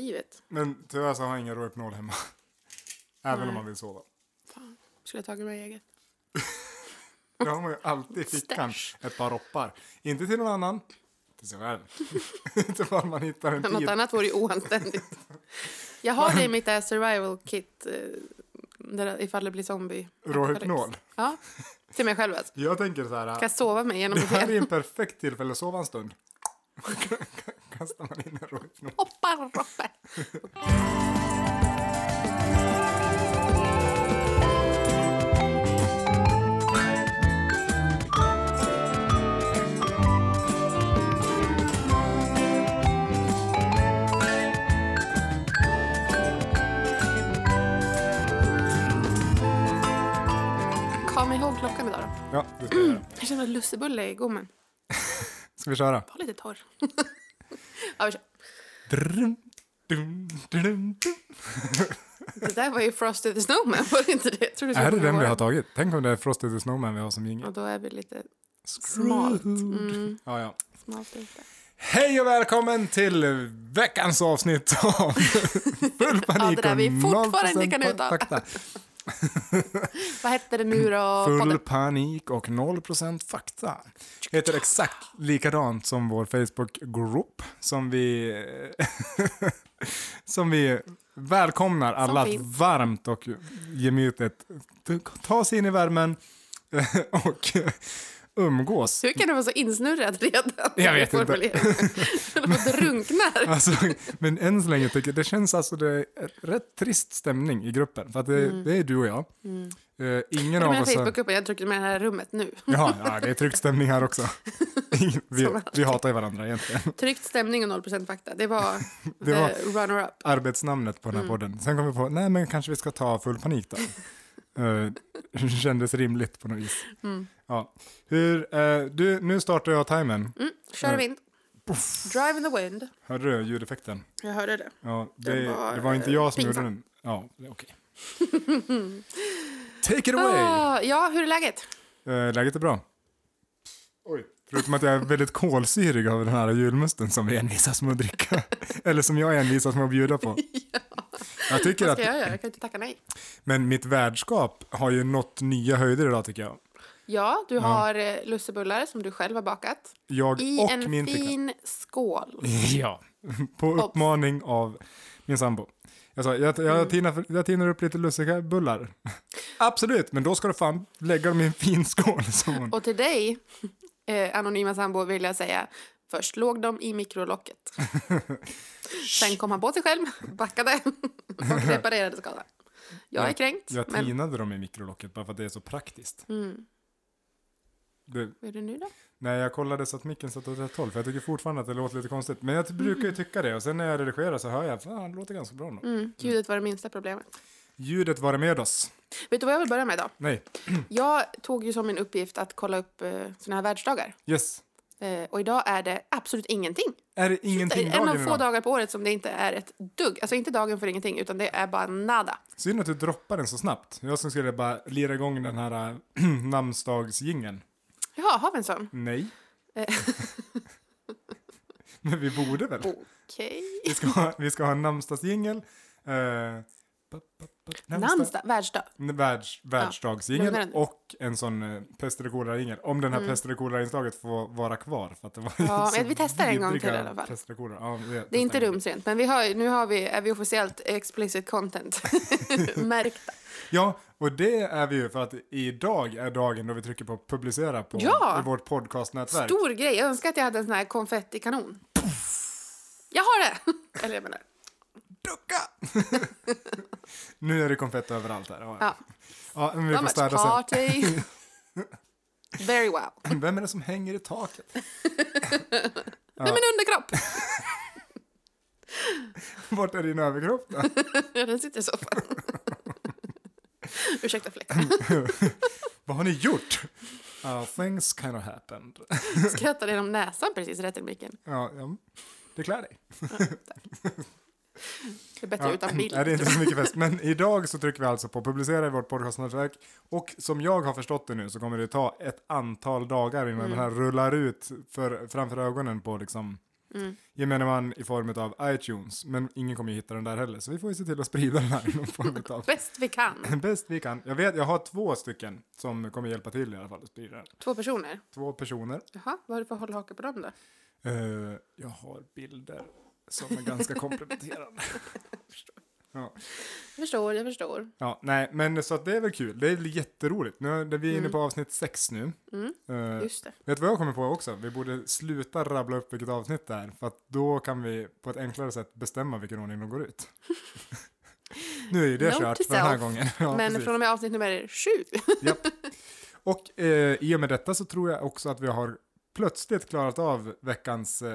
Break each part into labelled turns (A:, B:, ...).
A: livet.
B: Men tyvärr så har jag ingen Rohypnol hemma. Även
A: Nej.
B: om man vill sova.
A: Fan, skulle jag tagit mig eget.
B: Då har man ju alltid i fickan ett par roppar. Inte till någon annan, till sig själv. Inte var man hittar en
A: Något
B: tid.
A: annat vore ju oanständigt. Jag har det i mitt eh, survival kit eh, där, ifall det blir zombie.
B: Rohypnol.
A: Ja, till mig själv alltså.
B: Jag tänker så
A: Kan
B: här,
A: jag sova mig genom
B: det här är
A: det?
B: en perfekt tillfälle att sova en stund. Kastar man in en Rohypnol.
A: Hoppar, hoppar. Kom ihåg klockan idag då.
B: Ja, det ska jag göra.
A: Jag känner lussebulle i gommen.
B: Ska vi köra?
A: Var lite torr. ja, vi kör.
B: Drum, dum, dum, dum.
A: Det där var ju Frosted the Snowman, var det inte det? Jag trodde det
B: Är det
A: skulle
B: den
A: vara
B: vi har tagit? Tänk om det är Frosted the Snowman vi har som jingel.
A: Och då är vi lite
B: Smalt.
A: Mm.
B: Ja, ja.
A: smalt ute.
B: Hej och välkommen till veckans avsnitt av Full panik
A: det där
B: och
A: vi fortfarande inte kan
B: 0%
A: uttala.
B: fakta.
A: Vad hette det nu då?
B: Full
A: Podden?
B: panik och 0% fakta. Heter exakt likadant som vår Facebookgrupp som vi, som vi välkomnar alla att
A: finns.
B: varmt och gemytligt ta sig in i värmen och umgås.
A: Hur kan du vara så insnurrad redan?
B: Jag vet
A: i
B: inte.
A: formuleringen? Eller vad drunknar.
B: Alltså, men än så länge tycker jag, det känns alltså det är rätt trist stämning i gruppen. För att det,
A: Mm.
B: det är du och jag. Eh, ingen
A: Jag
B: av
A: menar
B: oss... har-
A: Facebookgruppen, jag tryckte med det här rummet nu.
B: Ja, ja, det är tryckt stämning här också. Ingen- vi,
A: Som alltid.
B: vi hatar ju varandra egentligen.
A: Tryckt stämning och 0% fakta. Det var
B: Det var-
A: the runner-up.
B: Arbetsnamnet på den här
A: Mm.
B: podden. Sen kom vi på, nej men kanske vi ska ta full panik då. Eh, kändes rimligt på något vis.
A: Mm.
B: Ja. Hur, eh, du, nu startar jag timern.
A: Mm, kör
B: Mm.
A: vind. Drive in the wind.
B: Hörde du ljudeffekten?
A: Jag hörde det.
B: Ja,
A: Den
B: det,
A: var,
B: det var inte
A: eh,
B: jag som
A: pinsam.
B: gjorde den. Ja, det är okej. Take it away!
A: Ah, ja, hur är läget?
B: Eh, läget är bra. Oj. Förutom att jag är väldigt kolsyrig av den här julmusten som vi envisas med att dricka. Eller som jag envisas med att bjuda på. Jag tycker
A: Vad ska
B: att,
A: jag göra? Jag kan inte tacka nej.
B: men mitt värdskap har ju nått nya höjder idag tycker jag.
A: Ja, du har eh, lussebullar som du själv har bakat.
B: Jag
A: I
B: och
A: en
B: min flickvän.
A: fin skål.
B: Ja. På uppmaning av min sambo. Jag sa, jag, jag,
A: Mm.
B: tinar, jag tinar upp lite lussebullar. Absolut, men då ska du fan lägga dem i en fin skål. sa hon.
A: Och till dig, eh, anonyma sambo, vill jag säga Först låg de i mikrolocket. Sen kom han på sig själv, backade och reparerade skadan. Jag är kränkt,
B: Jag
A: men...
B: tinade dem i mikrolocket bara för att det är så praktiskt.
A: Mm.
B: Det,
A: Vad är det nu då?
B: Nej, jag kollade så att micken satt åt rätt håll, för jag tycker fortfarande att det låter lite konstigt. Men jag brukar ju tycka det, och sen när jag redigerar så hör jag, fan, det låter ganska bra ändå.
A: Mm. Ljudet var det minsta problemet.
B: Ljudet var det med oss.
A: Vet du vad jag vill börja med då?
B: Nej,
A: Jag tog ju som min uppgift att kolla upp eh, såna här världsdagar.
B: yes.
A: Eh, och idag är det absolut ingenting.
B: Är det
A: Det
B: ingenting
A: är en av
B: dagen
A: få
B: idag?
A: dagar på året som det inte är ett dugg. Alltså inte dagen för ingenting, utan det är bara nada.
B: Synd att du droppar den så snabbt. Jag som skulle bara lira igång den här äh, namnsdagsjingeln.
A: Jaha, har vi en sån?
B: Nej.
A: Eh.
B: Men vi borde väl?
A: Okej.
B: Vi ska ha, vi ska ha en namnsdagsjingel. Eh, pa, pa, pa, namnsdag-
A: Namnsdag, världsdag.
B: världs, världsdagsjingel
A: lugnare nu.
B: och en sån eh, pest eller kolera-jingel. Om den här pest eller kolera-inslaget får vara kvar. För att det var ju
A: Mm. Ja,
B: så
A: men vi testar en gång till i
B: vidriga
A: alla fall.
B: Pest eller kolera. Ja,
A: Det är inte
B: testar en gång.
A: rumsrent, men vi har, nu har vi, är vi officiellt explicit content märkta.
B: Ja, och det är vi ju för att idag är dagen då vi trycker på publicera på
A: Ja!
B: i vårt podcastnätverk.
A: Stor grej, jag önskar att jag hade en sån här konfettikanon. Jag har det! Eller jag menar,
B: Ducka! nu är det konfetti överallt här. Ja,
A: ja.
B: ja men vi
A: How
B: får
A: much
B: städa sen.
A: party? Very wow.
B: Vem är det som hänger i taket?
A: Nej men underkropp!
B: Vart är din överkropp då?
A: Ja, Den sitter i soffan. Ursäkta fläck.
B: Vad har ni gjort? Uh, things kind of happened.
A: Skrattade genom näsan precis rätt i micken.
B: Ja, ja. det klär dig.
A: Det är bättre
B: Ja.
A: utan bild.
B: Nej, det är inte så mycket fest. Men idag så trycker vi alltså på publicera i vårt podcastnätverk. Och som jag har förstått det nu så
A: Mm.
B: kommer det ta ett antal dagar innan den här rullar ut för, framför ögonen på liksom
A: Mm.
B: Gemene man i form av iTunes, men ingen kommer ju hitta den där heller. Så vi får ju se till att sprida den här i någon form av...
A: Bäst vi kan.
B: Bäst vi kan. Jag vet, jag har två stycken som kommer hjälpa till i alla fall att sprida den.
A: Två personer.
B: Två personer.
A: Jaha, vad har du för hållhake på dem då?
B: Eh, jag har bilder som är ganska komprometterande. ja.
A: Jag förstår, jag förstår.
B: ja, nej, men så att det är väl kul. Det är väl jätteroligt. Nu, är- vi är inne
A: Mm.
B: på avsnitt sex nu.
A: Mm.
B: Eh,
A: Just det.
B: Vet du vad jag kommer på också? Vi borde sluta rabbla upp vilket avsnitt det är, för att då kan vi på ett enklare sätt bestämma vilken ordning de går ut. nu är ju det
A: Note
B: kört
A: to
B: för den här
A: self.
B: gången. Ja,
A: Men
B: precis.
A: från och med avsnitt nummer sju.
B: Japp. Och eh, i och med detta så tror jag också att vi har plötsligt klarat av veckans... Eh,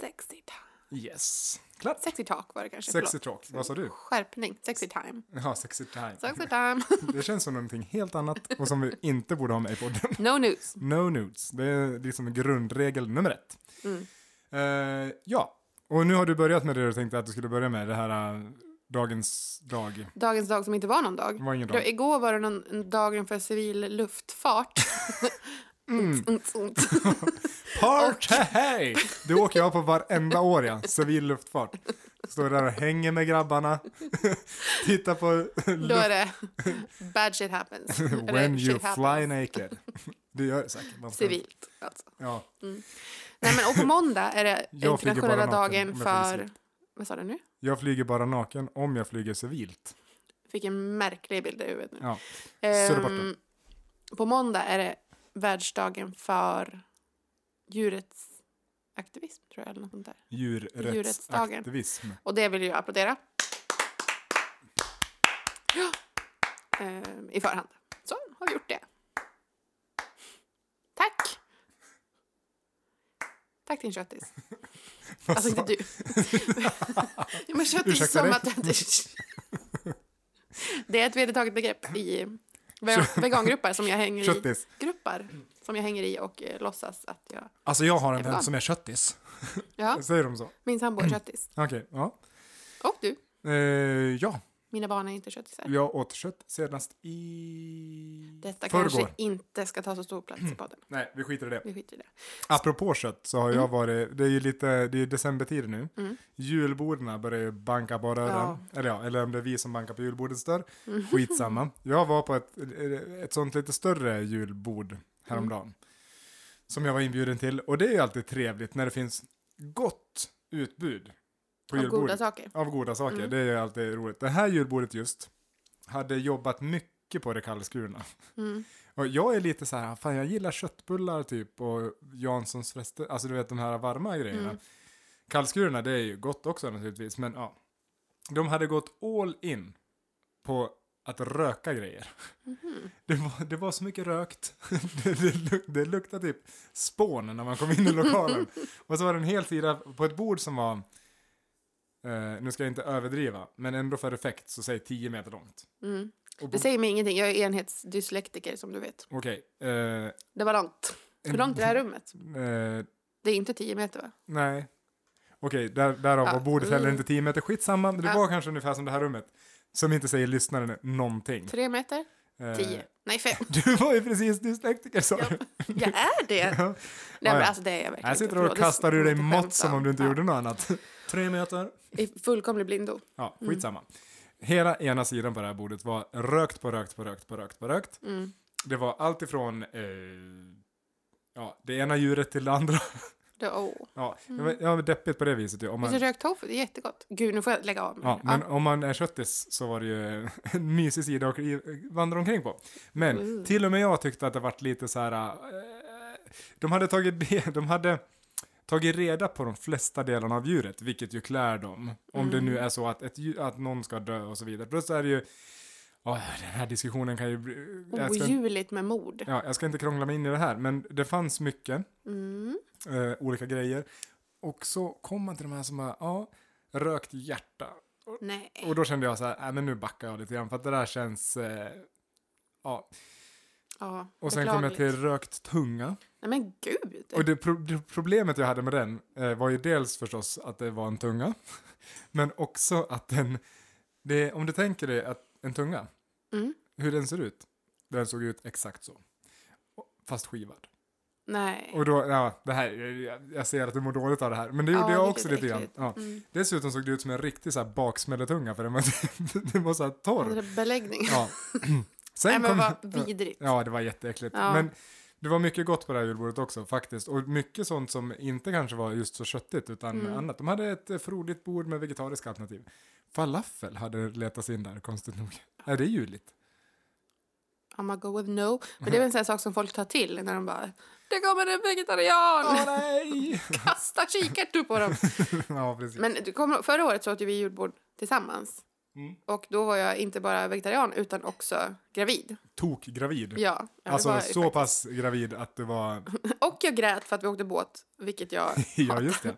A: Sexy, ta-
B: yes. Klart.
A: sexy talk var det kanske.
B: Sexy
A: förlåt.
B: talk. Vad sa du?
A: Skärpning. Sexy time.
B: Ja, sexy time.
A: Sexy time.
B: Det känns som någonting helt annat och som vi inte borde ha med i podden.
A: No news.
B: No nudes. Det är liksom grundregel nummer ett.
A: Mm.
B: Eh, ja, och nu har du börjat med det du tänkte att du skulle börja med, det här eh, dagens dag.
A: Dagens dag som inte var någon dag.
B: Det var ingen
A: Då,
B: dag.
A: igår var det någon, en dagen för civil luftfart.
B: Mm.
A: Ont, ont.
B: Party! Det åker jag på varenda år, ja. Civil luftfart. Står där och hänger med grabbarna. Tittar på
A: Då är det bad shit happens. Eller
B: When you
A: shit happens.
B: fly naked. Du gör det säkert. Man ska-
A: Civilt, alltså.
B: Ja.
A: Nej, men, och på måndag är det
B: Jag flyger
A: internationella
B: bara naken,
A: dagen
B: om jag flyger
A: för... Vad sa du nu?
B: Jag flyger bara naken om jag flyger civilt.
A: Fick en märklig bild i huvudet nu.
B: Ja.
A: Ehm,
B: så är det borta.
A: på måndag är det världsdagen för djurets aktivism, tror jag. Eller något sånt där. Djurrättsdagen.
B: Djurrättsaktivism.
A: Och det vill jag applådera. Ja. Ehm, I förhand. Så, har vi gjort det. Tack! Tack din köttis.
B: Vad
A: Alltså inte
B: sa-
A: du. ja, men köttis
B: Ursäkta
A: som
B: dig?
A: att... det är ett vedertaget begrepp i ve- vegangrupper som jag hänger i.
B: Köttis.
A: Grupper som jag hänger i och eh, låtsas att jag...
B: Alltså jag har en
A: Är vegan.
B: vän som är köttis.
A: Ja,
B: Säger de så?
A: min sambo är köttis.
B: Okej, ja.
A: Och du.
B: Eh, ja,
A: Mina barn är inte köttisar.
B: jag åt kött senast i...
A: Detta
B: Förrgår.
A: kanske inte ska ta så stor plats
B: Mm.
A: i podden.
B: Nej, vi skiter i det.
A: Vi skiter i det.
B: Apropå kött så har jag varit, det är ju lite, det är decembertid nu.
A: Mm.
B: Julborden börjar ju banka på dörren.
A: Ja. Mm.
B: Eller ja, eller om det är vi som bankar på julbordets dörr. Skitsamma. Jag var på ett, ett sånt lite större julbord häromdagen.
A: Mm.
B: Som jag var inbjuden till. Och det är ju alltid trevligt när det finns gott utbud på
A: Av goda
B: julbordet.
A: saker.
B: Av goda saker,
A: Mm.
B: det är ju alltid roligt. Det här julbordet just hade jobbat mycket på det kallskurna.
A: Mm.
B: Och jag är lite så här, fan jag gillar köttbullar typ och Janssons frester, alltså du vet de här varma grejerna.
A: Mm.
B: Kallskurna det är ju gott också naturligtvis, men ja. De hade gått all in på att röka grejer.
A: Mhm.
B: Det, var, det var så mycket rökt. Det, det, luk, det luktade typ spån när man kom in i lokalen. Och så var det en hel sida på ett bord som var, eh, nu ska jag inte överdriva, men ändå för effekt så säg 10 meter långt.
A: Mm.
B: Och
A: Det
B: bo-
A: säger mig ingenting. Jag är enhetsdyslektiker som du vet.
B: Okej. eh,
A: Det var långt. Hur långt är det här rummet?
B: eh,
A: Det är inte 10 meter va?
B: Nej. Okej, där, därav
A: Ja,
B: var bordet heller
A: mm. Ah.
B: inte 10 meter. Skitsamma, men det
A: Ja.
B: var kanske ungefär som det här rummet. Som inte säger lyssnaren någonting.
A: 3 meter?
B: Eh,
A: 10? Nej 5.
B: Du var ju precis dyslektiker sa du.
A: Jag är det!
B: Ja.
A: Nej men
B: ja.
A: alltså det är jag verkligen
B: Här sitter du
A: Förlåt,
B: och
A: det är
B: kastar ur dig
A: lite
B: mått
A: skämt Ah.
B: som om du inte
A: ja.
B: gjorde något annat. Tre meter.
A: I fullkomlig blindo.
B: Ja, skitsamma. Hela ena sidan på det här bordet var rökt på rökt på rökt på rökt på rökt.
A: Mm.
B: Det var allt ifrån eh, ja, det ena djuret till det andra.
A: Det, åh.
B: Ja, det
A: Mm.
B: var, ja, men deppigt på det viset. ju. Om man,
A: Visst är rökt tofu? Det är jättegott. Gud, nu får jag lägga av mig. Ah,
B: Ja, men om man är köttis så var det ju en mysig sida att vandra omkring på. Men
A: Mm.
B: till och med jag tyckte att det vart lite så här... eh, de, hade tagit, de- de hade tagit reda på de flesta delarna av djuret, vilket ju klär dem. Om det nu är så att, ett, djur- att någon ska dö och så vidare. Plus är det ju... åh, den här diskussionen kan ju... bli-
A: Oh,
B: Jag ska,
A: Odjuligt med mord.
B: ja, jag ska inte krångla mig in i det här, men det fanns mycket
A: Mm.
B: eh, olika grejer. Och så kom man till de här som bara, ja, rökt hjärta.
A: Nej.
B: Och då kände jag så här, äh, men nu backar jag lite grann för att det där känns... Eh, ja.
A: Ja,
B: Och sen kom jag
A: beklagligt.
B: till rökt tunga.
A: Nej men gud!
B: Och det, pro det problemet jag hade med den eh, var ju dels förstås att det var en tunga. Men också att den... Det, om du tänker dig att en tunga,
A: Mm.
B: hur den ser ut. Den såg ut exakt så. Och- Fast skivad.
A: Nej.
B: Och då, ja, det här, jag, jag ser att du mår dåligt av det här. Men det
A: Ja,
B: gjorde jag
A: vilket
B: också
A: är
B: lite grann.
A: äckligt.
B: Ja.
A: Mm.
B: Dessutom såg det ut som en riktig så här baksmälletunga för den var, den var så här
A: Det
B: torr.
A: är Beläggning.
B: Ja. Sen
A: Nej men
B: kom-
A: vad vidrigt.
B: Ja, det var jätteäckligt.
A: Ja.
B: Men det var mycket gott på det här julbordet också faktiskt. Och mycket sånt som inte kanske var just så köttigt utan
A: Mm.
B: annat. De hade ett eh, frodigt bord med vegetariska alternativ. Falafel hade letats in där konstigt nog. Är det juligt?
A: I'mma go with no. Men det är
B: Mm.
A: väl en sån här sak som folk tar till när de bara Det kommer en vegetarian!
B: Åh nej!
A: Kasta kikärtor på dem!
B: ja, precis.
A: Men du kommer, förra året så åt ju vi julbord tillsammans.
B: Mm.
A: Och då var jag inte bara vegetarian utan också gravid.
B: Tok gravid.
A: Ja, jag
B: alltså
A: var,
B: så pass gravid att det var...
A: Och jag grät för att vi åkte båt, vilket jag
B: ja, just det.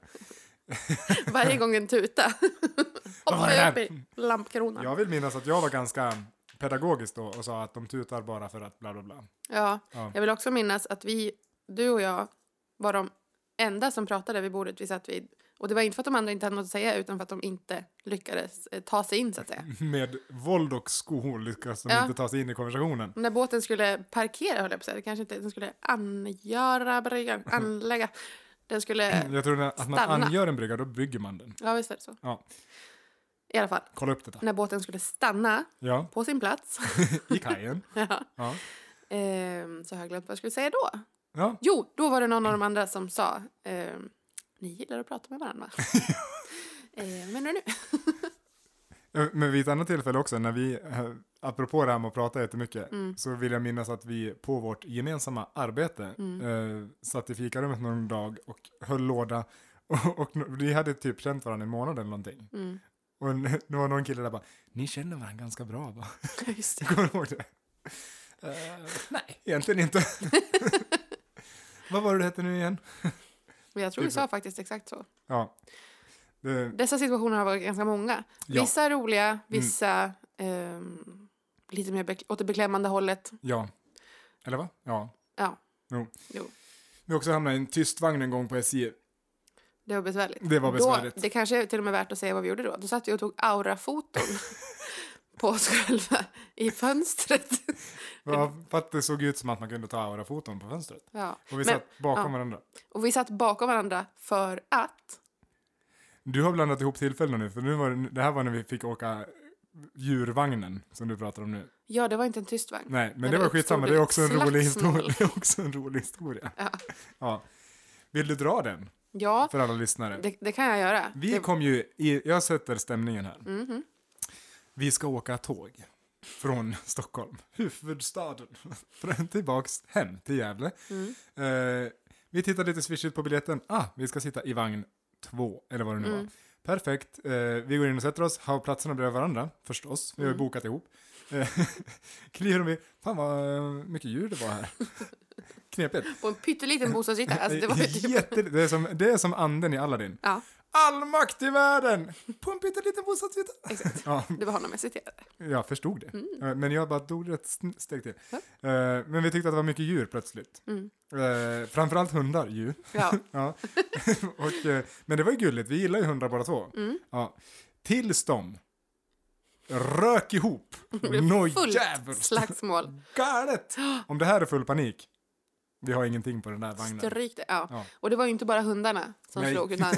A: varje gång en tuta
B: Vad var det
A: hoppade jag upp
B: där?
A: i lampkronan. Ja.
B: Jag vill minnas att jag var ganska pedagogisk då och sa att de tutar bara för att bla bla bla. Ja.
A: Jag vill också minnas att vi, du och jag var de enda som pratade vid bordet vi satt vid. Och det var inte för att de andra inte hade något att säga utan för att de inte lyckades eh, ta sig in så att säga.
B: Med våld och skor lyckas de
A: Ja.
B: inte ta sig in i konversationen.
A: När båten skulle parkera, höll jag på att säga, det kanske inte, den skulle angöra, bryggan, anlägga. Den skulle,
B: Jag tror att när man
A: Stanna.
B: angör en brygga, då bygger man den.
A: ja visst är det så.
B: Ja.
A: I alla fall,
B: Kolla upp det där.
A: när båten skulle stanna
B: Ja,
A: på sin plats,
B: i kajen.
A: ja,
B: Ja.
A: ehm, så har jag glömt vad jag skulle säga då.
B: Ja.
A: Jo, då var det någon av de andra som sa ehm, ni gillar att prata med varandra. va?" ehm, men nu, nu.
B: eh, Men vid ett annat tillfälle också, när vi, eh, apropå det här med att prata jättemycket,
A: Mm.
B: så vill jag minnas att vi på vårt gemensamma arbete
A: Mm.
B: eh, satt i fikarummet någon dag och höll låda. Och, och no- vi hade typ känt varandra i en månad eller någonting.
A: Mm.
B: Och en- det var någon kille där bara, ni känner varandra ganska bra va?
A: Just det.
B: Kommer du ihåg det? Eh, nej, egentligen inte. Vad var det du hette nu igen?
A: Men jag tror vi
B: Typ så.
A: sa faktiskt exakt så.
B: Ja. Det,
A: Dessa situationer har varit ganska många.
B: ja, Mm.
A: Vissa är roliga, vissa ehm, lite mer be- åt det beklämmande hållet.
B: ja. Eller va? Ja.
A: Ja.
B: Jo.
A: Jo.
B: Vi också hamnade i en tyst vagn en gång på SJ.
A: Det var besvärligt.
B: Det var besvärligt.
A: Då, det kanske är till och med värt att säga vad vi gjorde då. Då satt vi och tog aurafoton på oss själva i fönstret.
B: Ja,
A: Mm.
B: för att det såg ut som att man kunde ta aura foton på fönstret.
A: Ja.
B: Och vi
A: Men-
B: satt bakom
A: ja.
B: varandra.
A: Och vi satt bakom varandra för att...
B: Du har blandat ihop tillfällena nu, för nu var det, det här var när vi fick åka djurvagnen som du pratar om nu.
A: Ja, det var inte en tyst vagn.
B: Nej, men
A: Men
B: det
A: det
B: var skitsamma.
A: uppstod
B: Det
A: ett
B: är också en rolig
A: slagsmål.
B: historia. Det är också en rolig historia.
A: Ja.
B: Ja. Vill du dra den
A: Ja,
B: för alla lyssnare?
A: det, det kan jag göra.
B: Vi
A: det,
B: kom ju i, jag sätter stämningen här.
A: Mhm.
B: Vi ska åka tåg från Stockholm, huvudstaden, från- tillbaks hem till Gävle.
A: Mm.
B: Eh, vi tittar lite swishigt på biljetten. Ah, vi ska sitta i vagn två, eller vad det nu var.
A: Mm.
B: Perfekt. Eh, vi går in och sätter oss, har platserna bredvid varandra, förstås. Vi har ju
A: Mm.
B: bokat ihop. Eh, kliver de i, fan vad eh, mycket djur det var här. Knepigt.
A: På en pytteliten bostadsyta. Alltså, det var ju typ...
B: Jätte, det, är som, det är som anden i Aladdin.
A: Ja,
B: All makt i världen! På en pytteliten bostadsyta.
A: exakt.
B: Ja,
A: Det var honom jag citerade.
B: jag förstod det. Eh, Men jag bara tog ett sn- steg till.
A: Mm. Ja.
B: Eh, Men vi tyckte att det var mycket djur plötsligt.
A: Mm.
B: Eh, Framförallt hundar ju.
A: Ja.
B: Ja. Och, eh, men det var ju gulligt, vi gillar ju hundar båda två.
A: Mm.
B: Ja. Tills de rök ihop.
A: blev
B: Nå
A: fullt
B: jävligt
A: Slagsmål.
B: galet! Om det här är full panik, vi har ingenting på den där vagnen.
A: Stryk det. Ja.
B: Ja.
A: Och det var ju inte bara hundarna som
B: Nej.
A: slog utan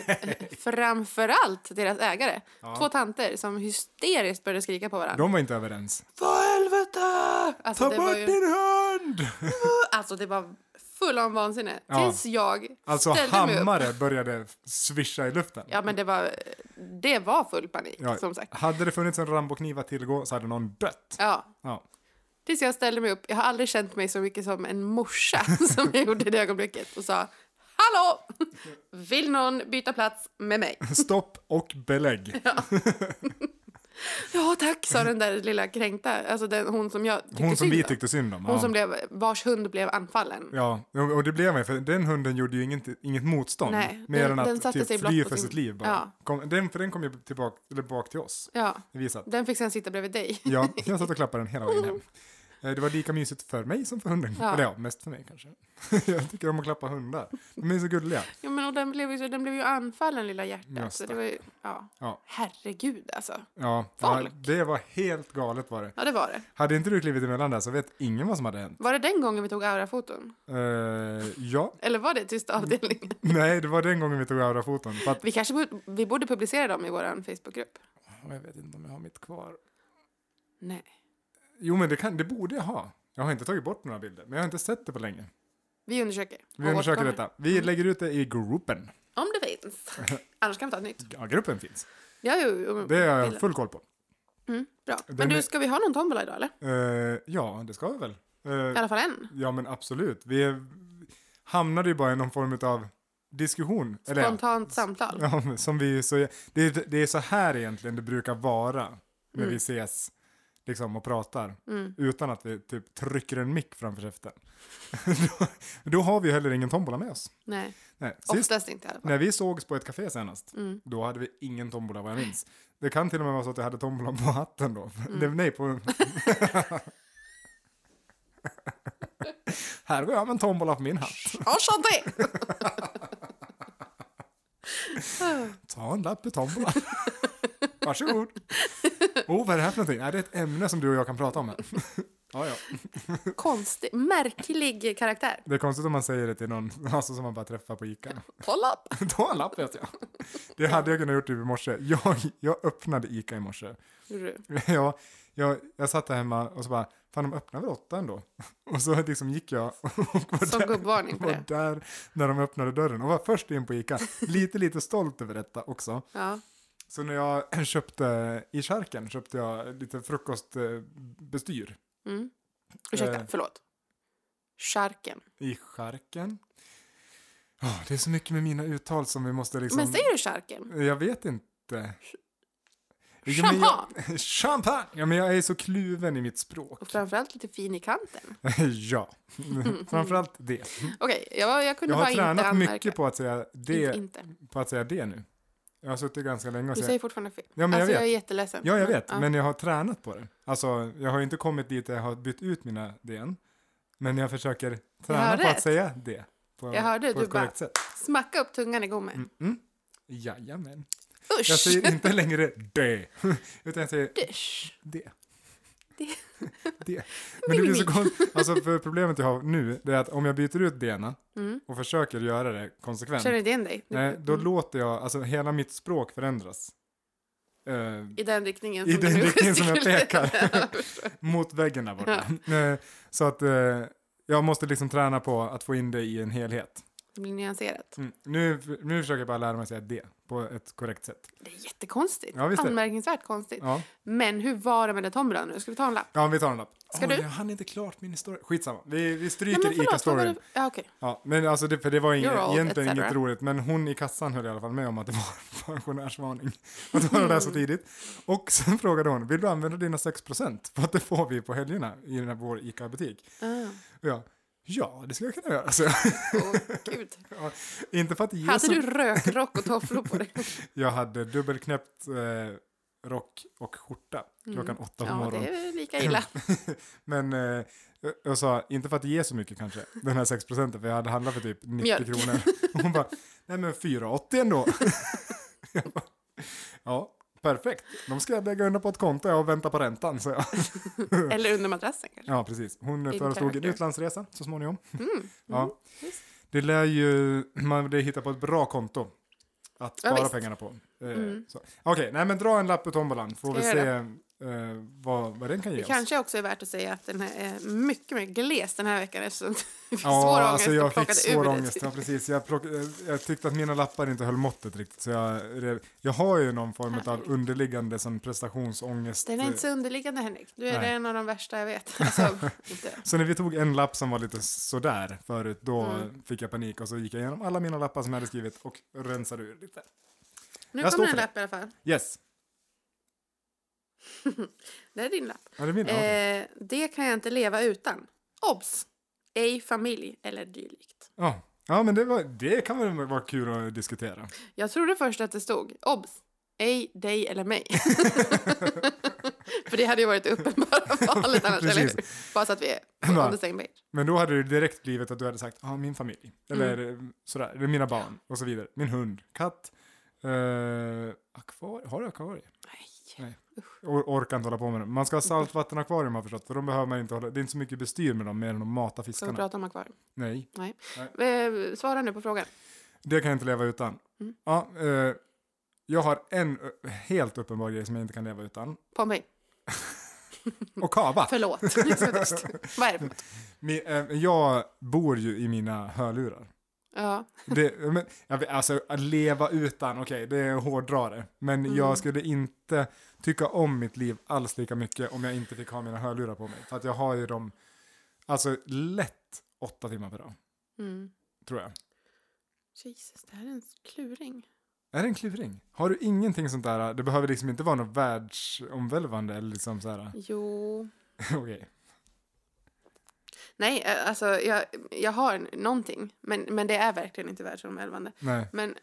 A: framförallt deras ägare.
B: Ja.
A: Två tanter som hysteriskt började skrika på varandra.
B: De var inte överens.
A: För helvete! Alltså,
B: Ta
A: det var
B: bort
A: ju,
B: din hund!
A: alltså det var full om vansinne.
B: Ja.
A: Tills jag
B: Alltså
A: ställde mig upp.
B: hammare började svischa i luften.
A: Ja men det var, det var full panik
B: Ja.
A: som sagt.
B: Hade det funnits en Rambokniv att tillgå så hade någon dött.
A: Ja.
B: Ja.
A: Tills jag ställde mig upp. Jag har aldrig känt mig så mycket som en morsa som jag gjorde i det ögonblicket och sa Hallå! Vill någon byta plats med mig?
B: Stopp och belägg.
A: Ja tack, sa den där lilla kränkta. Alltså den, hon som jag tyckte
B: Hon som
A: synd
B: vi
A: om.
B: tyckte synd om.
A: Hon
B: ja.
A: som blev, vars hund blev anfallen.
B: Ja, och och det blev man för den hunden gjorde ju inget, inget motstånd.
A: Nej,
B: mer
A: den-
B: än att
A: den satte
B: typ,
A: sig blott
B: fly
A: på
B: för
A: sin-
B: sitt liv bara.
A: Ja.
B: Kom, den, för den kom ju tillbaka, eller bak till oss.
A: Ja,
B: Det visar att-
A: den fick sen sitta bredvid dig.
B: Ja, jag satt och klappade den hela vägen hem. Eh, Det var lika mysigt för mig som för hunden.
A: Ja.
B: Eller ja, mest för mig kanske. jag tycker om att klappa hundar. De är så gulliga.
A: Ja, men och den, blev ju, så- den blev ju anfallen, lilla
B: Ja,
A: hjärtat. Så det var ju, ja.
B: Ja.
A: Herregud, alltså.
B: Ja, ja,
A: Folk.
B: det var helt galet var det.
A: Ja, det var det.
B: Hade inte du klivit emellan där så vet ingen vad som hade hänt.
A: Var det den gången vi tog aurafoton?
B: Eh, ja,
A: Eller var det tysta avdelningen?
B: nej, det var den gången vi tog aurafoton. För att,
A: Vi kanske borde, vi borde publicera dem i vår Facebookgrupp.
B: jag vet inte om jag har mitt kvar.
A: Nej.
B: Jo, men det, kan, det borde jag ha. Jag har inte tagit bort några bilder, men jag har inte sett det på länge.
A: Vi undersöker.
B: Vi
A: och
B: undersöker
A: återkommer.
B: detta. Vi lägger ut det i gruppen.
A: Om det finns. Annars kan vi ta ett nytt.
B: Ja, gruppen finns.
A: Ja, jo, jo.
B: Det har jag
A: Bilden.
B: full koll på.
A: Mm, bra.
B: Den
A: Men
B: är-
A: du, ska vi ha någon tombola idag eller?
B: Eh, ja, det ska vi väl.
A: I
B: Eh,
A: alla fall en.
B: ja, men absolut. Vi är, hamnade ju bara i någon form av diskussion. Eller, ja.
A: Spontant samtal.
B: Ja, men som vi så, det, är- det är så här egentligen det brukar vara när vi ses liksom, och pratar
A: Mm.
B: utan att vi typ trycker en mick framför käften. då, då har vi heller ingen tombola med oss.
A: Nej,
B: Nej, sist,
A: oftast inte i alla fall.
B: när vi sågs på ett café senast,
A: Mm.
B: då hade vi ingen tombola vad jag minns. Det kan till och med vara så att jag hade tombolan på hatten då.
A: Mm.
B: Det, nej, på... här går jag med en tombola på min hatt.
A: Arsan det!
B: Ta en lapp i tombolan. Varsågod. Oh, vad är det här för någonting? Är det är ett ämne som du och jag kan prata om här? ja, ja.
A: Konstig, märklig karaktär.
B: Det är konstigt om man säger det till någon alltså, som man bara träffar på Ica.
A: Kolla upp!
B: Ta en lapp vet jag. Det hade jag kunnat gjort typ i morse. Jag, jag öppnade Ica i morse.
A: Gjorde du?
B: Jag, jag, jag satt där hemma och så bara, fan de öppnar väl åtta ändå? Och så liksom gick jag och var
A: Som
B: där,
A: gubbvarning på
B: var
A: det.
B: där när de öppnade dörren och var först in på Ica. Lite, lite stolt över detta också.
A: Ja.
B: Så när jag köpte i charken köpte jag lite frukostbestyr
A: Mm. Ursäkta,
B: Eh.
A: förlåt. Charken.
B: i charken. Åh, det är så mycket med mina uttal som vi måste liksom...
A: Men säger du charken?
B: Jag vet inte. Ja, men jag-
A: Champagne!
B: Champagne! Ja, men jag är så kluven i mitt språk.
A: Och framförallt lite fin i kanten.
B: ja, framförallt det.
A: Okej, jag, var- jag kunde
B: Jag har
A: bara inte anmärka.
B: tränat mycket på att, säga
A: Inte,
B: det,
A: inte.
B: på att säga det nu. Jag har suttit ganska länge och
A: Du
B: säger...
A: säger fortfarande fel.
B: Ja, men jag
A: alltså,
B: vet.
A: är jätteledsen.
B: Ja, jag vet,
A: Ja.
B: men jag har tränat på det. Alltså, jag har ju inte kommit dit där jag har bytt ut mina det än. Men jag försöker träna
A: har
B: på att
A: rätt.
B: säga det. På,
A: Jag hörde,
B: på
A: du
B: ett korrekt sätt.
A: Smacka upp tungan i gommen.
B: Mm, mm. Jajamän.
A: Usch!
B: Jag säger inte längre det, utan jag säger
A: Dusch.
B: det.
A: Det.
B: det. Men det blir så konstigt. Alltså för problemet jag har nu det är att om jag byter ut dena
A: Mm.
B: och försöker göra det konsekvent,
A: Känner du igen dig?
B: nej, då
A: Mm.
B: låter jag, alltså hela mitt språk förändras. Eh,
A: I den riktningen
B: I
A: som
B: den
A: du nu
B: riktningen som jag
A: gestikulerar.
B: mot väggen där borta. Eh, så att eh, jag måste liksom träna på att få in det i en helhet.
A: det blir nyanserat.
B: Mm. Nu, nu försöker jag bara lära mig att säga det på ett korrekt sätt.
A: Det är jättekonstigt.
B: Ja, visst är det.
A: Anmärkningsvärt konstigt.
B: Ja,
A: Men hur var det med den tombolan nu? Ska vi ta en lapp?
B: ja vi tar en lapp.
A: Ska du?
B: Jag hann inte klart min historia. Skitsamma, vi, vi
A: Nej,
B: stryker
A: förlåt, vad var
B: ICA-storyn.
A: det- Ja, okej.
B: Ja, men alltså det, för det var
A: You're
B: inget,
A: old,
B: egentligen
A: etc.
B: inget roligt, men hon i kassan höll i alla fall med om att det var en pensionärsvarning. Att vara där så tidigt. Och sen frågade hon, vill du använda dina 6% för att det får vi på helgerna i den här vår ICA-butik?
A: Ah.
B: Och jag, ja det skulle jag kunna göra. Så,
A: Åh, gud.
B: inte för att ge
A: Hade
B: så,
A: du rökrock och tofflor på dig?
B: Jag hade dubbelknäppt eh, rock och skjorta klockan åtta på
A: Mm. Ja,
B: morgonen.
A: det är väl lika illa.
B: Men eh, jag- jag sa, inte för att ge så mycket kanske, den här 6 procenten, för jag hade handlat för typ 90
A: Mjölk.
B: kronor. Och hon bara, nej men 4,80 ändå. Jag bara, ja, perfekt. De ska jag lägga undan på ett konto och vänta på räntan, så jag.
A: Eller under madrassen kanske.
B: Ja, precis. Hon
A: In
B: föreslog en
A: character.
B: utlandsresa så småningom.
A: Typ. Mm.
B: Ja.
A: Visst.
B: Det lär ju, man vill hitta på ett bra konto att
A: Ja,
B: spara
A: visst.
B: pengarna på. Eh,
A: Mm.
B: så. Okej, nej men dra en lapp ur tombolan, får
A: Ska
B: vi
A: jag
B: se eh, vad, vad den kan ge
A: Det
B: oss.
A: kanske också är värt att säga att den här är mycket mer gles den här veckan eftersom vi fick svår
B: Ja,
A: ångest
B: alltså
A: och
B: jag fick
A: plockade
B: svår
A: ur
B: ångest.
A: det.
B: Ja, precis. Jag, plock, eh, jag tyckte att mina lappar inte höll måttet riktigt. Så jag, rev- jag har ju någon form av
A: Herregud.
B: underliggande sån prestationsångest.
A: Den är inte så underliggande Henrik. Du är
B: Nej.
A: en av de värsta jag vet. Alltså, inte.
B: Så när vi tog en lapp som var lite sådär förut, då
A: Mm.
B: fick jag panik och så gick jag igenom alla mina lappar som jag hade skrivit och rensade ur lite.
A: Nu
B: Jag står
A: kommer en
B: för det.
A: lapp i alla fall.
B: Yes,
A: Det är din lapp.
B: ja, det är min. Ja, okej.
A: Eh, det kan jag inte leva utan. Obs! Ej familj eller dylikt.
B: Ja. ja, men det, var, det kan väl vara kul att diskutera.
A: Jag trodde först att det stod obs! Ej dig eller mig. För det hade ju varit det uppenbara valet annars, eller
B: Precis.
A: hur? Bara så att vi är
B: Ja.
A: on the same page.
B: Men då hade det direkt blivit att du hade sagt, ja, ah, min familj, eller
A: Mm.
B: eh, sådär, eller mina barn och så vidare. Min hund, katt, eh, akvarie, har du akvarie?
A: Nej.
B: Nej. Or- orkar inte hålla på med dem. Man ska ha saltvattenakvarium har jag förstått, för de behöver man inte hålla, det är inte så mycket bestyr med dem mer än att mata
A: Ska vi
B: fiskarna.
A: prata om akvarium?
B: Nej,
A: Eh, Svara nu på frågan.
B: det kan jag inte leva utan.
A: Mm.
B: Ja, eh, jag har en eh, helt uppenbar grej som jag inte kan leva utan.
A: Pompeji.
B: Och kava!
A: Förlåt. Så tyst. Vad är det för något?
B: Min, eh, jag bor ju i mina hörlurar.
A: Ja.
B: Det, men, jag vet, alltså att leva utan, okej, det är hårdrare. Men
A: Mm.
B: jag skulle inte tycka om mitt liv alls lika mycket om jag inte fick ha mina hörlurar på mig. För att jag har ju dem, alltså lätt åtta timmar per dag,
A: Mm.
B: tror jag.
A: Jesus, det här är en kluring.
B: Är det en kluring? Har du ingenting sånt där, det behöver liksom inte vara något världsomvälvande eller liksom så här,
A: Jo.
B: okej.
A: Nej, eh, alltså jag, jag har någonting. Men, men det är verkligen inte världsomvälvande.
B: Nej.
A: Men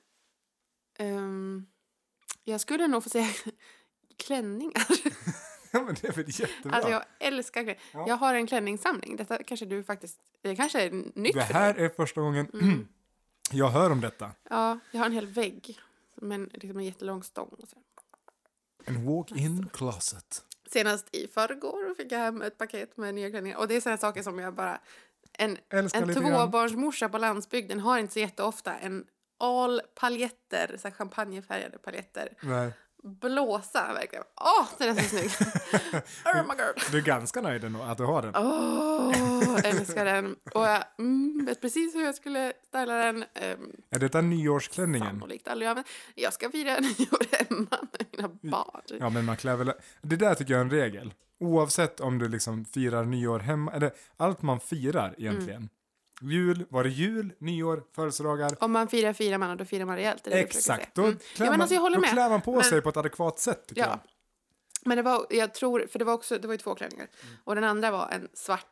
A: ehm, jag skulle nog få säga klänningar.
B: Ja, men det är väl jättebra.
A: Alltså jag älskar klänningar.
B: Ja.
A: Jag har en klänningssamling. Detta kanske du faktiskt... Det kanske är nytt
B: det
A: för
B: här
A: dig.
B: är första gången
A: Mm.
B: jag hör om detta.
A: Ja, jag har en hel vägg. Men liksom en jättelång stång. Och så.
B: En walk-in closet.
A: Senast i förrgår fick jag hem ett paket med nya klänningar. Och det är sådana saker som jag bara... En,
B: Älskar
A: en
B: lite grann.
A: tvåbarnsmorsa på landsbygden har inte så jätteofta en all paljetter, så här champagnefärgade paljetter.
B: Nej.
A: Blåsa verkligen. Åh, den är så snygg! oh my god!
B: Du är ganska nöjd ändå att du har den.
A: Åh, älskar den. Och jag mm, vet precis hur jag skulle styla den. Ehm,
B: Är detta nyårsklänningen?
A: sannolikt aldrig använt. Jag ska fira nyår hemma med mina barn.
B: Mm. Ja, men man klär väl... Det där tycker jag är en regel. Oavsett om du liksom firar nyår hemma, eller allt man firar
A: Mm.
B: egentligen. Jul, var det jul, nyår, födelsedagar?
A: Om man firar firar man och då firar man rejält. är det det jag försöker säga.
B: Exakt, då,
A: Mm.
B: klär,
A: Ja, men
B: man,
A: alltså, jag håller
B: då
A: med.
B: klär man på
A: Men-
B: sig på ett adekvat sätt tycker
A: Ja. Men det var, jag tror, för det var också, det var ju två klänningar.
B: Mm.
A: Och den andra var en svart,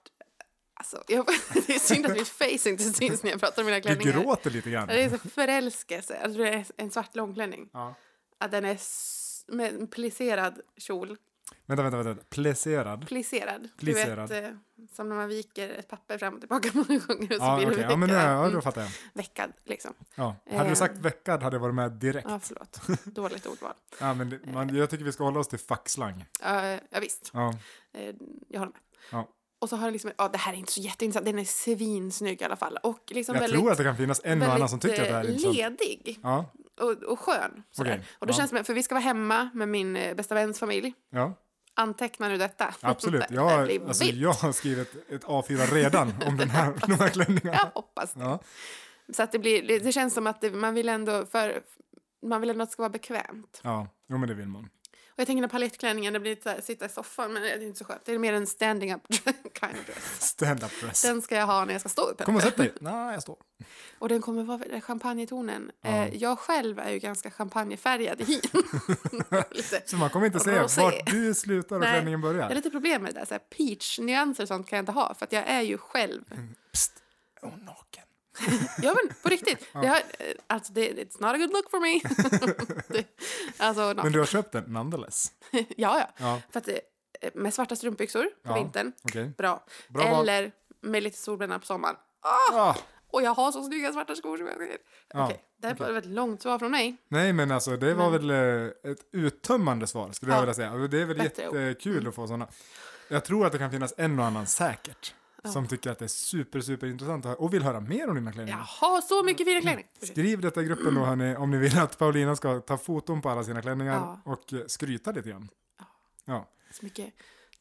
A: alltså, jag, det är synd att mitt face inte syns när jag pratar om mina
B: jag. Du
A: klänningar.
B: gråter lite grann.
A: Det är så förälskelse, alltså det är en svart långklänning.
B: Ja.
A: Att den är s- med en plisserad kjol.
B: Vänta, vänta, vänta. Placerad.
A: Plisserad.
B: Plisserad.
A: Du vet, eh, som när man viker ett papper fram och tillbaka många gånger och så
B: Ja,
A: blir
B: okej.
A: det
B: Ja, men eh,
A: veckad.
B: ja, då
A: Mm,
B: fattar jag.
A: veckad, liksom.
B: Ja. Hade du
A: Eh.
B: sagt veckad hade jag varit med direkt.
A: Ja, förlåt. Dåligt ordval.
B: Ja, men det, man, jag tycker vi ska hålla oss till fackslang.
A: Uh, ja, visst.
B: Ja.
A: Eh, jag håller med.
B: Ja.
A: Och så har jag liksom, ja det här är inte så jätteintressant, den är svinsnygg i alla fall. Och liksom
B: Jag
A: väldigt,
B: tror att det kan finnas en och annan som tycker att det här är
A: väldigt,
B: intressant.
A: eh, ledig
B: Ja,
A: och, och skön. sådär.
B: Okej,
A: Och då
B: ja.
A: känns det, som- för vi ska vara hemma med min eh, bästa väns familj.
B: ja.
A: Anteckna nu detta.
B: Absolut,
A: Det
B: jag
A: här blir
B: har, alltså,
A: vitt.
B: jag har skrivit ett A4 redan om den här, de här klänningarna.
A: Jag hoppas det.
B: Ja.
A: Så att det, blir, det, det känns som att det, man vill ändå för... Man vill ändå att det ska vara bekvämt.
B: ja, jo men det vill man.
A: Och jag tänker när palettklänningen, det blir lite så här, sitta i soffan, men det är inte så skönt. Det är mer en standing up kind of dress.
B: Stand up dress.
A: Den ska jag ha när jag ska stå upp.
B: Kom och sätt dig. Nej, jag står.
A: Och den kommer vara den här champagnetonen.
B: Ja.
A: Eh, jag själv är ju ganska champagnefärgad i hyn. Lite-
B: Så man kommer inte se
A: Rosé.
B: vart du slutar och
A: Nej.
B: klänningen
A: jag har
B: börjar.
A: lite problem med det där. Så här peach-nyanser och sånt kan jag inte ha för att jag är ju själv.
B: Mm. Psst, är hon naken?
A: Ja men på riktigt. Det har, eh, alltså det, it's not a good look for me. det, alltså, no.
B: Men du har köpt den nonetheless?
A: ja ja.
B: Ja,
A: För att, eh, med svarta strumpbyxor på
B: Ja.
A: vintern,
B: okej.
A: bra.
B: Bra val.
A: Eller med lite solbränna på sommaren.
B: Ah,
A: Och jag har så snygga svarta skor som jag
B: Ja,
A: Okej, det här var ett långt svar från mig.
B: nej, men alltså det var väl eh, ett uttömmande svar skulle jag
A: Ja.
B: vilja säga. Och Det är väl
A: Bättre ord. Mm.
B: jättekul att få sådana. Jag tror att det kan finnas en och annan säkert som tycker att det är super, super intressant och vill höra mer om dina klänningar.
A: Jaha,
B: Mm.
A: så mycket fina klänning.
B: Skriv detta i gruppen då hörni, om ni vill att Paulina ska ta foton på alla sina klänningar
A: Ja.
B: och eh, skryta lite grann. Ja,
A: Så mycket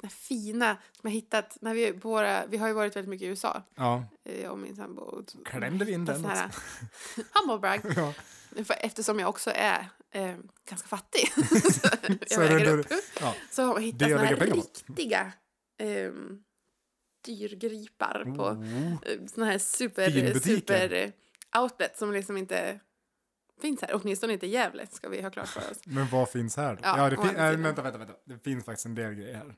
A: den här fina som jag hittat. När vi, är på våra, vi har ju varit väldigt mycket i USA,
B: ja.
A: eh, och min sambo. och-
B: Klämde vi in den
A: Sån här, humble brag.
B: Ja.
A: För eftersom jag också är eh, ganska fattig.
B: Så
A: så
B: är
A: jag
B: det
A: väger
B: ändå-
A: upp.
B: ja.
A: Så har man
B: Det
A: hittat
B: jag
A: såna här
B: lägger pengar på.
A: riktiga ehm, dyrgripar på
B: Oh.
A: eh, såna här super,
B: Finbutiker.
A: super eh, outlet som liksom inte finns här. Åtminstone inte i Gävle ska vi ha klart för oss.
B: Men vad finns här då? Ja,
A: Ja,
B: det
A: å
B: fin-
A: andra
B: äh,
A: sidan.
B: vänta, vänta, vänta. Det finns faktiskt en del grejer här.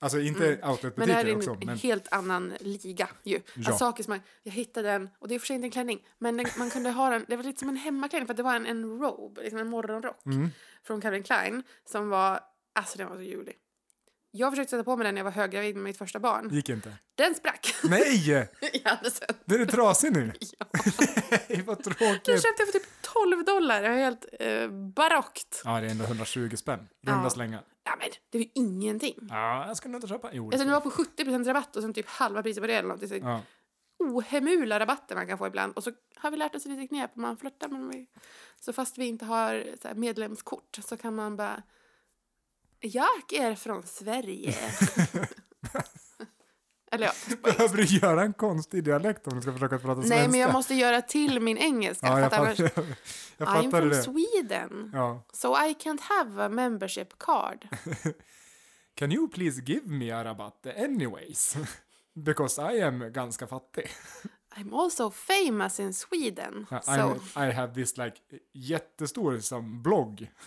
B: Alltså inte
A: Mm. Men det här är
B: outletbutiker
A: en
B: också, men
A: helt annan liga ju.
B: Ja.
A: Att saker som man, jag hittade den, och det är i och för sig inte en klänning, men den, man kunde ha den, det var lite som en hemmaklänning för att det var en, en robe, liksom en morgonrock
B: Mm.
A: från Calvin Klein som var, alltså den var så ljuvlig. Jag försökte sätta på mig den när jag var höggravid med mitt första barn.
B: Gick inte.
A: Den sprack
B: Nej!
A: i halsen.
B: Den är trasig nu.
A: Ja.
B: Nej, vad
A: Den
B: tråkigt.
A: köpte jag för typ 12 dollar. Det var helt eh, barockt.
B: Ja, det är ändå 120 spänn. Runda
A: Ja.
B: slängar.
A: Ja, men det är ju ingenting.
B: Ja, jag skulle nog inte köpa. Jo, det
A: Alltså,
B: skulle
A: det
B: jag.
A: var på 70 rabatt och sen typ halva priset på det. Eller något. Det är så
B: ja.
A: ohemula rabatter man kan få ibland. Och så har vi lärt oss lite knep om man flörtar. Men vi... Så fast vi inte har så här, medlemskort så kan man bara... Jag är från Sverige. eller ja,
B: Behöver du göra en konstig dialekt om du ska försöka prata svenska?
A: Nej, men jag måste göra till min engelska.
B: Ja,
A: för
B: jag
A: att annars,
B: fattar, jag
A: I'm
B: fattar
A: from
B: det.
A: Sweden,
B: Ja.
A: so I can't have a membership card.
B: Can you please give me a rabatt anyways? Because I am ganska fattig.
A: I'm also famous in Sweden.
B: Ja,
A: so,
B: I'm- I have this like jättestor som blogg.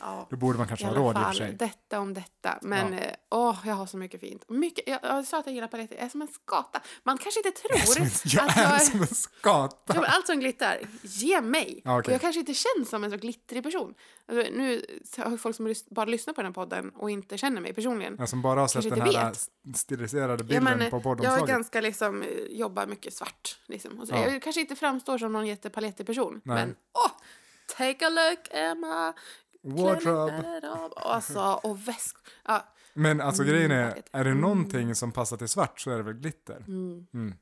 A: ja,
B: Då borde man
A: i
B: kanske ha
A: alla
B: råd i och för
A: fall,
B: sig.
A: detta om detta. Men
B: Ja.
A: eh, åh, jag har så mycket fint. Mycket, jag, jag sa att jag gillar paletter. Jag är som en skata. Man kanske inte tror
B: Som en-
A: att
B: Jag
A: jag
B: är
A: är...
B: som en
A: Ja, men
B: skata.
A: allt som glittrar, ge mig!
B: Ja, okej.
A: Och jag kanske inte känns som en så glittrig person. Alltså, nu har jag folk som lys- bara lyssnar på den här podden och inte känner mig personligen.
B: Jag som bara har sett
A: Kanske
B: den
A: inte
B: här
A: vet.
B: st- stiliserade
A: Ja,
B: bilden
A: men, eh,
B: på
A: jag är
B: poddomslaget.
A: ganska liksom, eh, jobbar mycket svart. Liksom. Och så,
B: Ja.
A: Jag kanske inte framstår som någon jättepalettig person.
B: Nej.
A: Men åh! Take a look, Emma!
B: Wardrobe.
A: Clean it up. Alltså, och väskor. Ja,
B: Men alltså grejen är,
A: paket.
B: är det någonting som passar till svart så är det väl glitter.
A: mm.
B: Mm.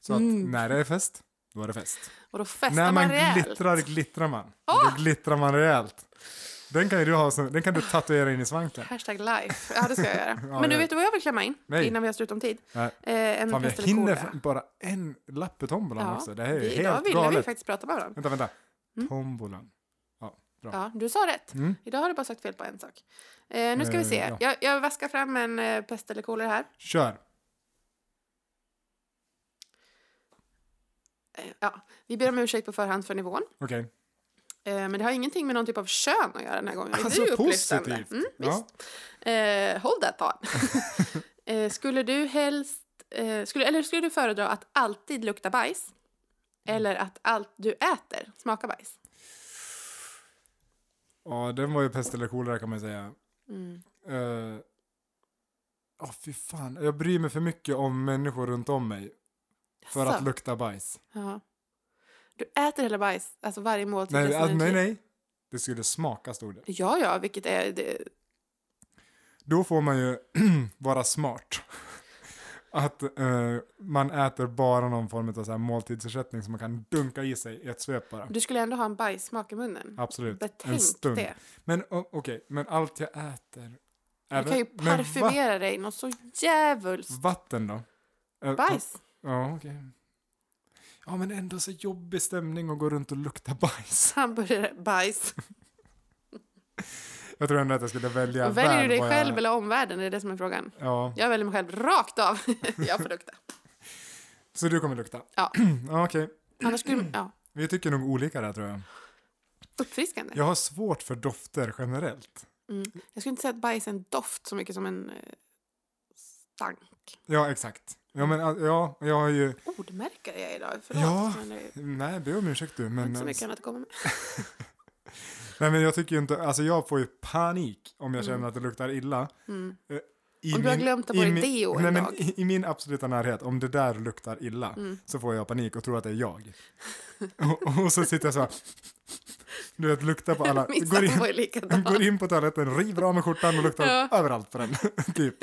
B: Så att
A: Mm.
B: när det är fest, då är det fest.
A: Och då festar
B: När man
A: rejält.
B: glittrar, glittrar man.
A: Ah!
B: Då glittrar man rejält. Den kan, ju du ha, som- den kan du tatuera in i svanken.
A: Hashtag life. Ja, det ska jag göra.
B: Ja,
A: men du
B: ja.
A: vet du vad jag vill klämma in?
B: Nej.
A: Innan vi har slut om tid.
B: Nej.
A: Eh, en
B: Fan, vi
A: pest eller
B: hinner
A: kolera.
B: f- bara en lapp i tombolan
A: Ja,
B: också. Det här är
A: vi- Idag
B: helt
A: ville vi
B: galet.
A: faktiskt Mm. prata med varandra.
B: Vänta, vänta. Tombolan.
A: Ja, du sa rätt.
B: Mm.
A: Idag har du bara sagt fel på en sak. Eh, nu ska vi
B: Eh,
A: se.
B: ja.
A: Jag, jag vaskar fram en eh, pest eller kolera här.
B: Kör.
A: Eh, ja, vi ber om ursäkt på förhand för nivån.
B: Okej.
A: Eh, men det har ingenting med någon typ av kön att göra den här gången. Det är ju
B: Alltså
A: upplyftande.
B: positivt.
A: Mm,
B: ja.
A: eh, hold that thought. eh, skulle du helst... Eh, skulle, eller skulle du föredra att alltid lukta bajs? Eller att allt du äter smakar bajs?
B: ja, den var ju pest eller kolera kan man ju säga.
A: Mm.
B: Eh, Ja, fy fan. Jag bryr mig för mycket om människor runt om mig för att
A: Jaså?
B: lukta bajs.
A: Ja. Du äter hela bajs, alltså varje måltid?
B: Nej,
A: resten av
B: alltså,
A: ditt
B: nej,
A: liv?
B: nej. Det skulle smaka, stod det.
A: Ja, ja, vilket är... Det,
B: Då får man ju vara smart. Att eh, man äter bara någon form av så här måltidsersättning som man kan dunka i sig i ett svep bara.
A: du skulle ändå ha en bajssmak i munnen.
B: Absolut. en
A: Betänk
B: stund.
A: det.
B: Men o- okej, men allt jag äter.
A: Du kan ju
B: men va-
A: parfymera dig något så djävulskt.
B: Vatten då? Eh,
A: Bajs.
B: Ja, okej. Ja, men ändå så jobbig stämning att gå runt och lukta bajs.
A: Hamburgare, bajs.
B: Jag tror ändå att jag skulle välja
A: Väljer du dig
B: vad
A: själv
B: jag,
A: eller omvärlden? Det är det som är frågan.
B: Ja,
A: Jag väljer mig själv rakt av. jag får lukta.
B: så du kommer lukta?
A: Ja.
B: ja okej.
A: Annars
B: Mm.
A: skulle... Ja,
B: Vi tycker nog olika där tror jag.
A: uppfriskande.
B: Jag har svårt för dofter generellt.
A: Mm. Jag skulle inte säga att bajs är en doft så mycket som en eh, stank.
B: Ja, exakt. Ja, men all- ja, jag har ju...
A: Ordmärkare jag är idag. Förlåt.
B: Ja,
A: men det
B: Nej, be om ursäkt du,
A: är
B: men... alltså,
A: inte så mycket annat att komma med.
B: Nej, men jag tycker ju inte... Alltså jag får ju panik om jag känner
A: Mm.
B: att det luktar illa. Eh,
A: Mm.
B: I
A: Om du har glömt ta på
B: i
A: dig
B: min-
A: deo en
B: nej, men
A: dag.
B: i, I min absoluta närhet, om det där luktar illa
A: Mm.
B: så får jag panik och tror att det är jag. och, och så sitter jag så här... Du vet, luktar på alla...
A: Min
B: Går
A: sambo
B: in,
A: är likadan.
B: går in på toaletten, river av mig skjortan och luktar
A: Ja.
B: överallt på den. typ.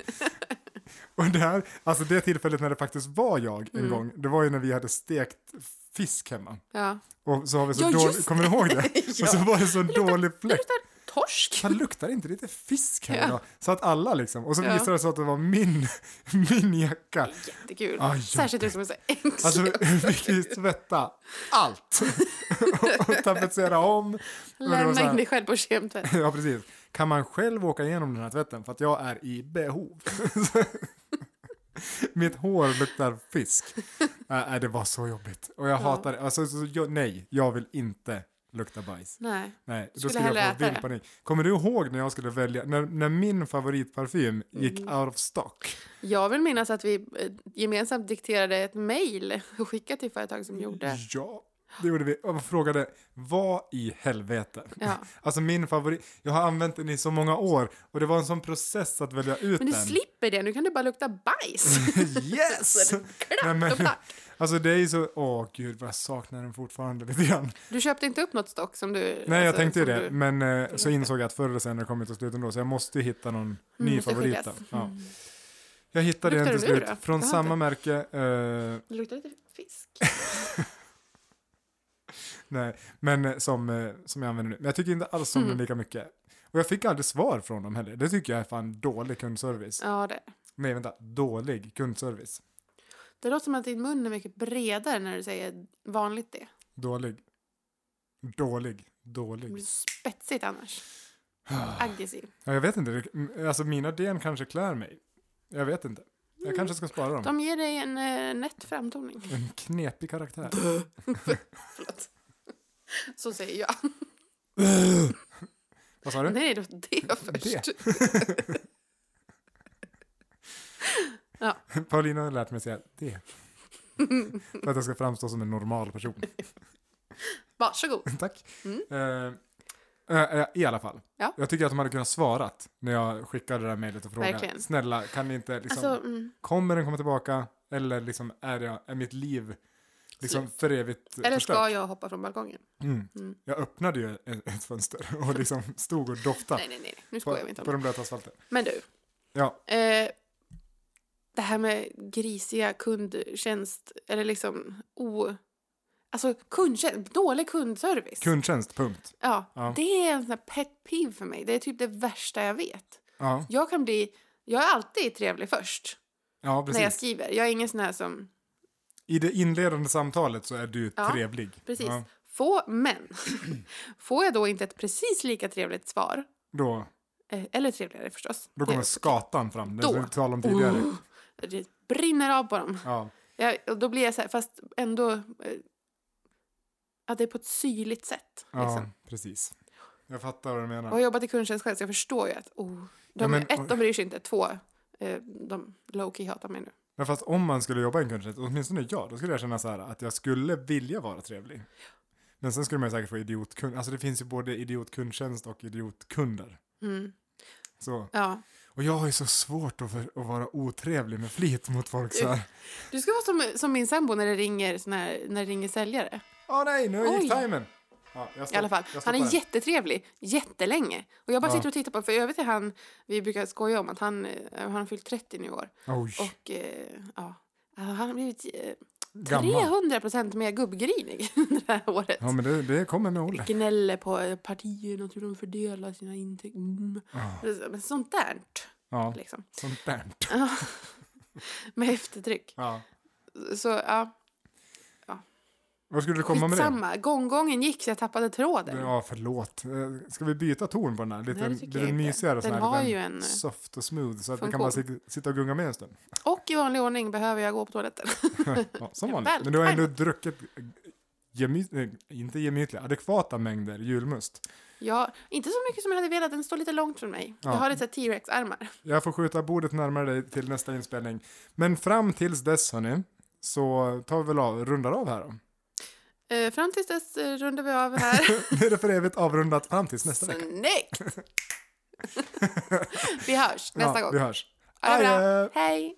B: Och det här, alltså det tillfället när det faktiskt var jag en
A: Mm.
B: gång, det var ju när vi hade stekt fisk hemma.
A: Ja.
B: Och så har vi så
A: Ja,
B: dålig,
A: just
B: kommer du ihåg det? Och så
A: Ja.
B: var det så dålig
A: Det
B: fläkt.
A: luktar torsk.
B: Fan luktar det inte lite fisk här
A: Ja.
B: idag? Så att alla liksom, och så
A: Ja.
B: visade det sig att det var min, min jacka.
A: Jättekul.
B: Aj,
A: Särskilt du som är så ängslig.
B: Ah, Alltså vi fick ju tvätta allt. och, och tapetsera om. men det var så
A: Lämna
B: här-
A: in dig själv på kemtvätt.
B: Ja precis. Kan man själv åka igenom den här tvätten för att jag är i behov? Mitt hår luktar fisk. Nej, nej, det var så jobbigt. Och jag
A: Ja.
B: hatar det. Alltså, så, så, jag, nej, jag vill inte lukta bajs.
A: Nej.
B: Nej, då
A: Skulle
B: skulle
A: hellre
B: jag få
A: äta
B: vild
A: det.
B: panik. Kommer du ihåg när jag skulle välja, när, när min favoritparfym gick
A: Mm.
B: out of stock?
A: Jag vill minnas att vi eh, gemensamt dikterade ett mejl och skickade till företag som gjorde.
B: Ja, Det gjorde vi. Och frågade, vad i helvete?
A: Ja.
B: Alltså min favorit, jag har använt den i så många år och det var en sån process att välja ut
A: Men du
B: den.
A: slipper det, nu kan du bara lukta bajs.
B: yes!
A: Alltså, klart
B: Nej,
A: och
B: men,
A: klart.
B: alltså det är ju så, åh gud vad jag saknar den fortfarande lite grann.
A: Du köpte inte upp något stock som du...
B: Nej jag
A: alltså,
B: tänkte ju
A: som
B: det,
A: Du,
B: men eh, så insåg jag att förr eller senare kommer jag till slut ändå så jag måste ju hitta någon ny
A: Mm, måste Mm.
B: favorit.
A: skiljas.
B: då. Ja. Jag hittade den
A: Luktar
B: till
A: den ur
B: slut,
A: då?
B: från
A: Jag har
B: samma
A: inte.
B: märke. Eh,
A: det luktar lite fisk.
B: nej, men eh, som, eh, som jag använder nu. Men jag tycker inte alls om
A: Mm.
B: den lika mycket. Och jag fick aldrig svar från dem heller. Det tycker jag är fan dålig kundservice.
A: Ja, det.
B: Nej vänta, dålig kundservice.
A: det låter som att din mun är mycket bredare när du säger vanligt det.
B: Dålig. Dålig.
A: Det blir
B: Dålig.
A: spetsigt annars. Aggressiv.
B: Ja, jag vet inte, Det- alltså mina DN kanske klär mig. Jag vet inte. Jag kanske ska spara dem.
A: De ger dig en eh, nätt framtoning.
B: En knepig karaktär.
A: Förlåt. Så säger jag.
B: Vad sa du?
A: Nej, det var det först.
B: Paulina har lärt mig säga det. För att jag ska framstå som en normal person.
A: Varsågod.
B: Tack.
A: Mm.
B: Eh, eh, eh, I alla fall.
A: Ja.
B: Jag tycker att de hade kunnat svarat när jag skickade det där mejlet och frågade.
A: Verkligen.
B: Snälla, kan ni inte liksom,
A: Alltså, mm.
B: kommer den komma tillbaka? Eller liksom, är, jag, är mitt liv liksom för evigt
A: Alltså, Eller
B: förstört?
A: ska jag hoppa från balkongen?
B: Mm.
A: Mm.
B: Jag öppnade ju ett, ett fönster och liksom stod och doftade
A: Nej, nej, nej. Nu
B: på,
A: skojar vi inte om
B: på
A: det.
B: den blöta asfalten.
A: Men du.
B: Ja.
A: Eh, det här med grisiga kundtjänst, eller liksom o... Alltså kundtjänst, dålig kundservice.
B: Kundtjänst, punkt.
A: ja,
B: Ja.
A: Det är en sån här pet peeve för mig. Det är typ det värsta jag vet.
B: Ja,
A: Jag kan bli... Jag är alltid trevlig först
B: ja
A: när jag
B: precis.
A: skriver. Jag är ingen sån här som...
B: I det inledande samtalet så är du
A: Ja,
B: trevlig.
A: Precis.
B: Ja,
A: Få, men får jag då inte ett precis lika trevligt svar,
B: då,
A: eh, eller trevligare förstås.
B: då kommer
A: det,
B: skatan fram, det
A: Då.
B: som vi talade om tidigare.
A: Oh, det brinner av på dem.
B: Ja,
A: Ja, och då blir jag så här, fast ändå... Eh, att det är på ett syrligt sätt.
B: ja
A: Liksom.
B: precis. Jag fattar vad du
A: Jag
B: menar.
A: har jobbat i kundtjänst själv så jag förstår ju att... Oh, de,
B: Ja, men-
A: ett, de bryr sig inte. Två, eh, de low-key hatar mig nu.
B: Men fast om man skulle jobba i en kundtjänst, åtminstone jag, då skulle jag känna så här att jag skulle vilja vara trevlig. Men sen skulle man ju säkert få idiotkund, alltså det finns ju både idiotkundtjänst och idiotkunder.
A: Mm.
B: Så.
A: Ja.
B: Och jag har ju så svårt att, för, att vara otrevlig med flit mot folk så här.
A: Du ska vara som, som min sambo när det ringer, sån här, när det ringer säljare.
B: Åh nej, nu
A: Oj.
B: gick timern! Ja, jag stopp-
A: I alla fall.
B: jag
A: Han
B: stoppar den.
A: är jättetrevlig, jättelänge. Och jag bara
B: Ja.
A: sitter och tittar på För i övrigt är han, vi brukar skoja om att han, eh, han har fyllt 30 nu i år.
B: Oj,
A: Och eh, ja, han har blivit eh,
B: gammal.
A: 300 procent mer gubbgrinig det här året.
B: Ja, men det, det kommer med åldern.
A: Gnäller på eh, partierna, och hur de fördelar sina intäkter. Mm.
B: Ja,
A: Men Sånt där,
B: ja
A: liksom.
B: sånt där.
A: Med eftertryck.
B: Ja.
A: Så ja,
B: Vad skulle du komma med det?
A: skitsamma. Gånggången gick så jag tappade tråden.
B: Ja, förlåt. Eh, Ska vi byta ton på den här? Lite,
A: Nej, det tycker
B: lite
A: jag inte.
B: mysigare. sån
A: Den
B: här,
A: har
B: liten
A: ju en- eh,
B: Soft och smooth, så att vi kan
A: funktion.
B: bara sit- sitta och gunga med en stund.
A: Och i vanlig ordning behöver jag gå på toaletten.
B: Ja, som
A: Ja,
B: vanligt.
A: väl
B: Men du har ändå druckit, eh, gemy, eh, inte gemytliga, adekvata mängder julmust.
A: Ja, inte så mycket som jag hade velat. Den står lite långt från mig.
B: Ja.
A: Jag har lite så här T-rex-armar.
B: Jag får skjuta bordet närmare dig till nästa inspelning. Men fram tills dess, hörni, så tar vi väl av, rundar av här då.
A: Eh, fram tills dess eh, rundar vi av här.
B: Nu är det för evigt avrundat fram tills nästa vecka.
A: Snyggt! vi hörs nästa
B: ja,
A: gång.
B: Vi hörs.
A: Ha det
B: Adjö.
A: bra. Hej!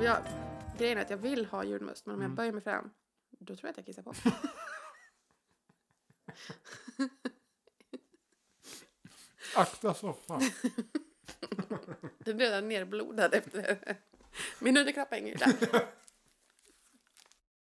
A: Jag, grejen är att jag vill ha julmust, men om jag böjer mig fram, då tror jag att jag kissar på mig.
B: Akta soffan.
A: Den är redan nerblodad efter det. Min underkropp hänger ju där.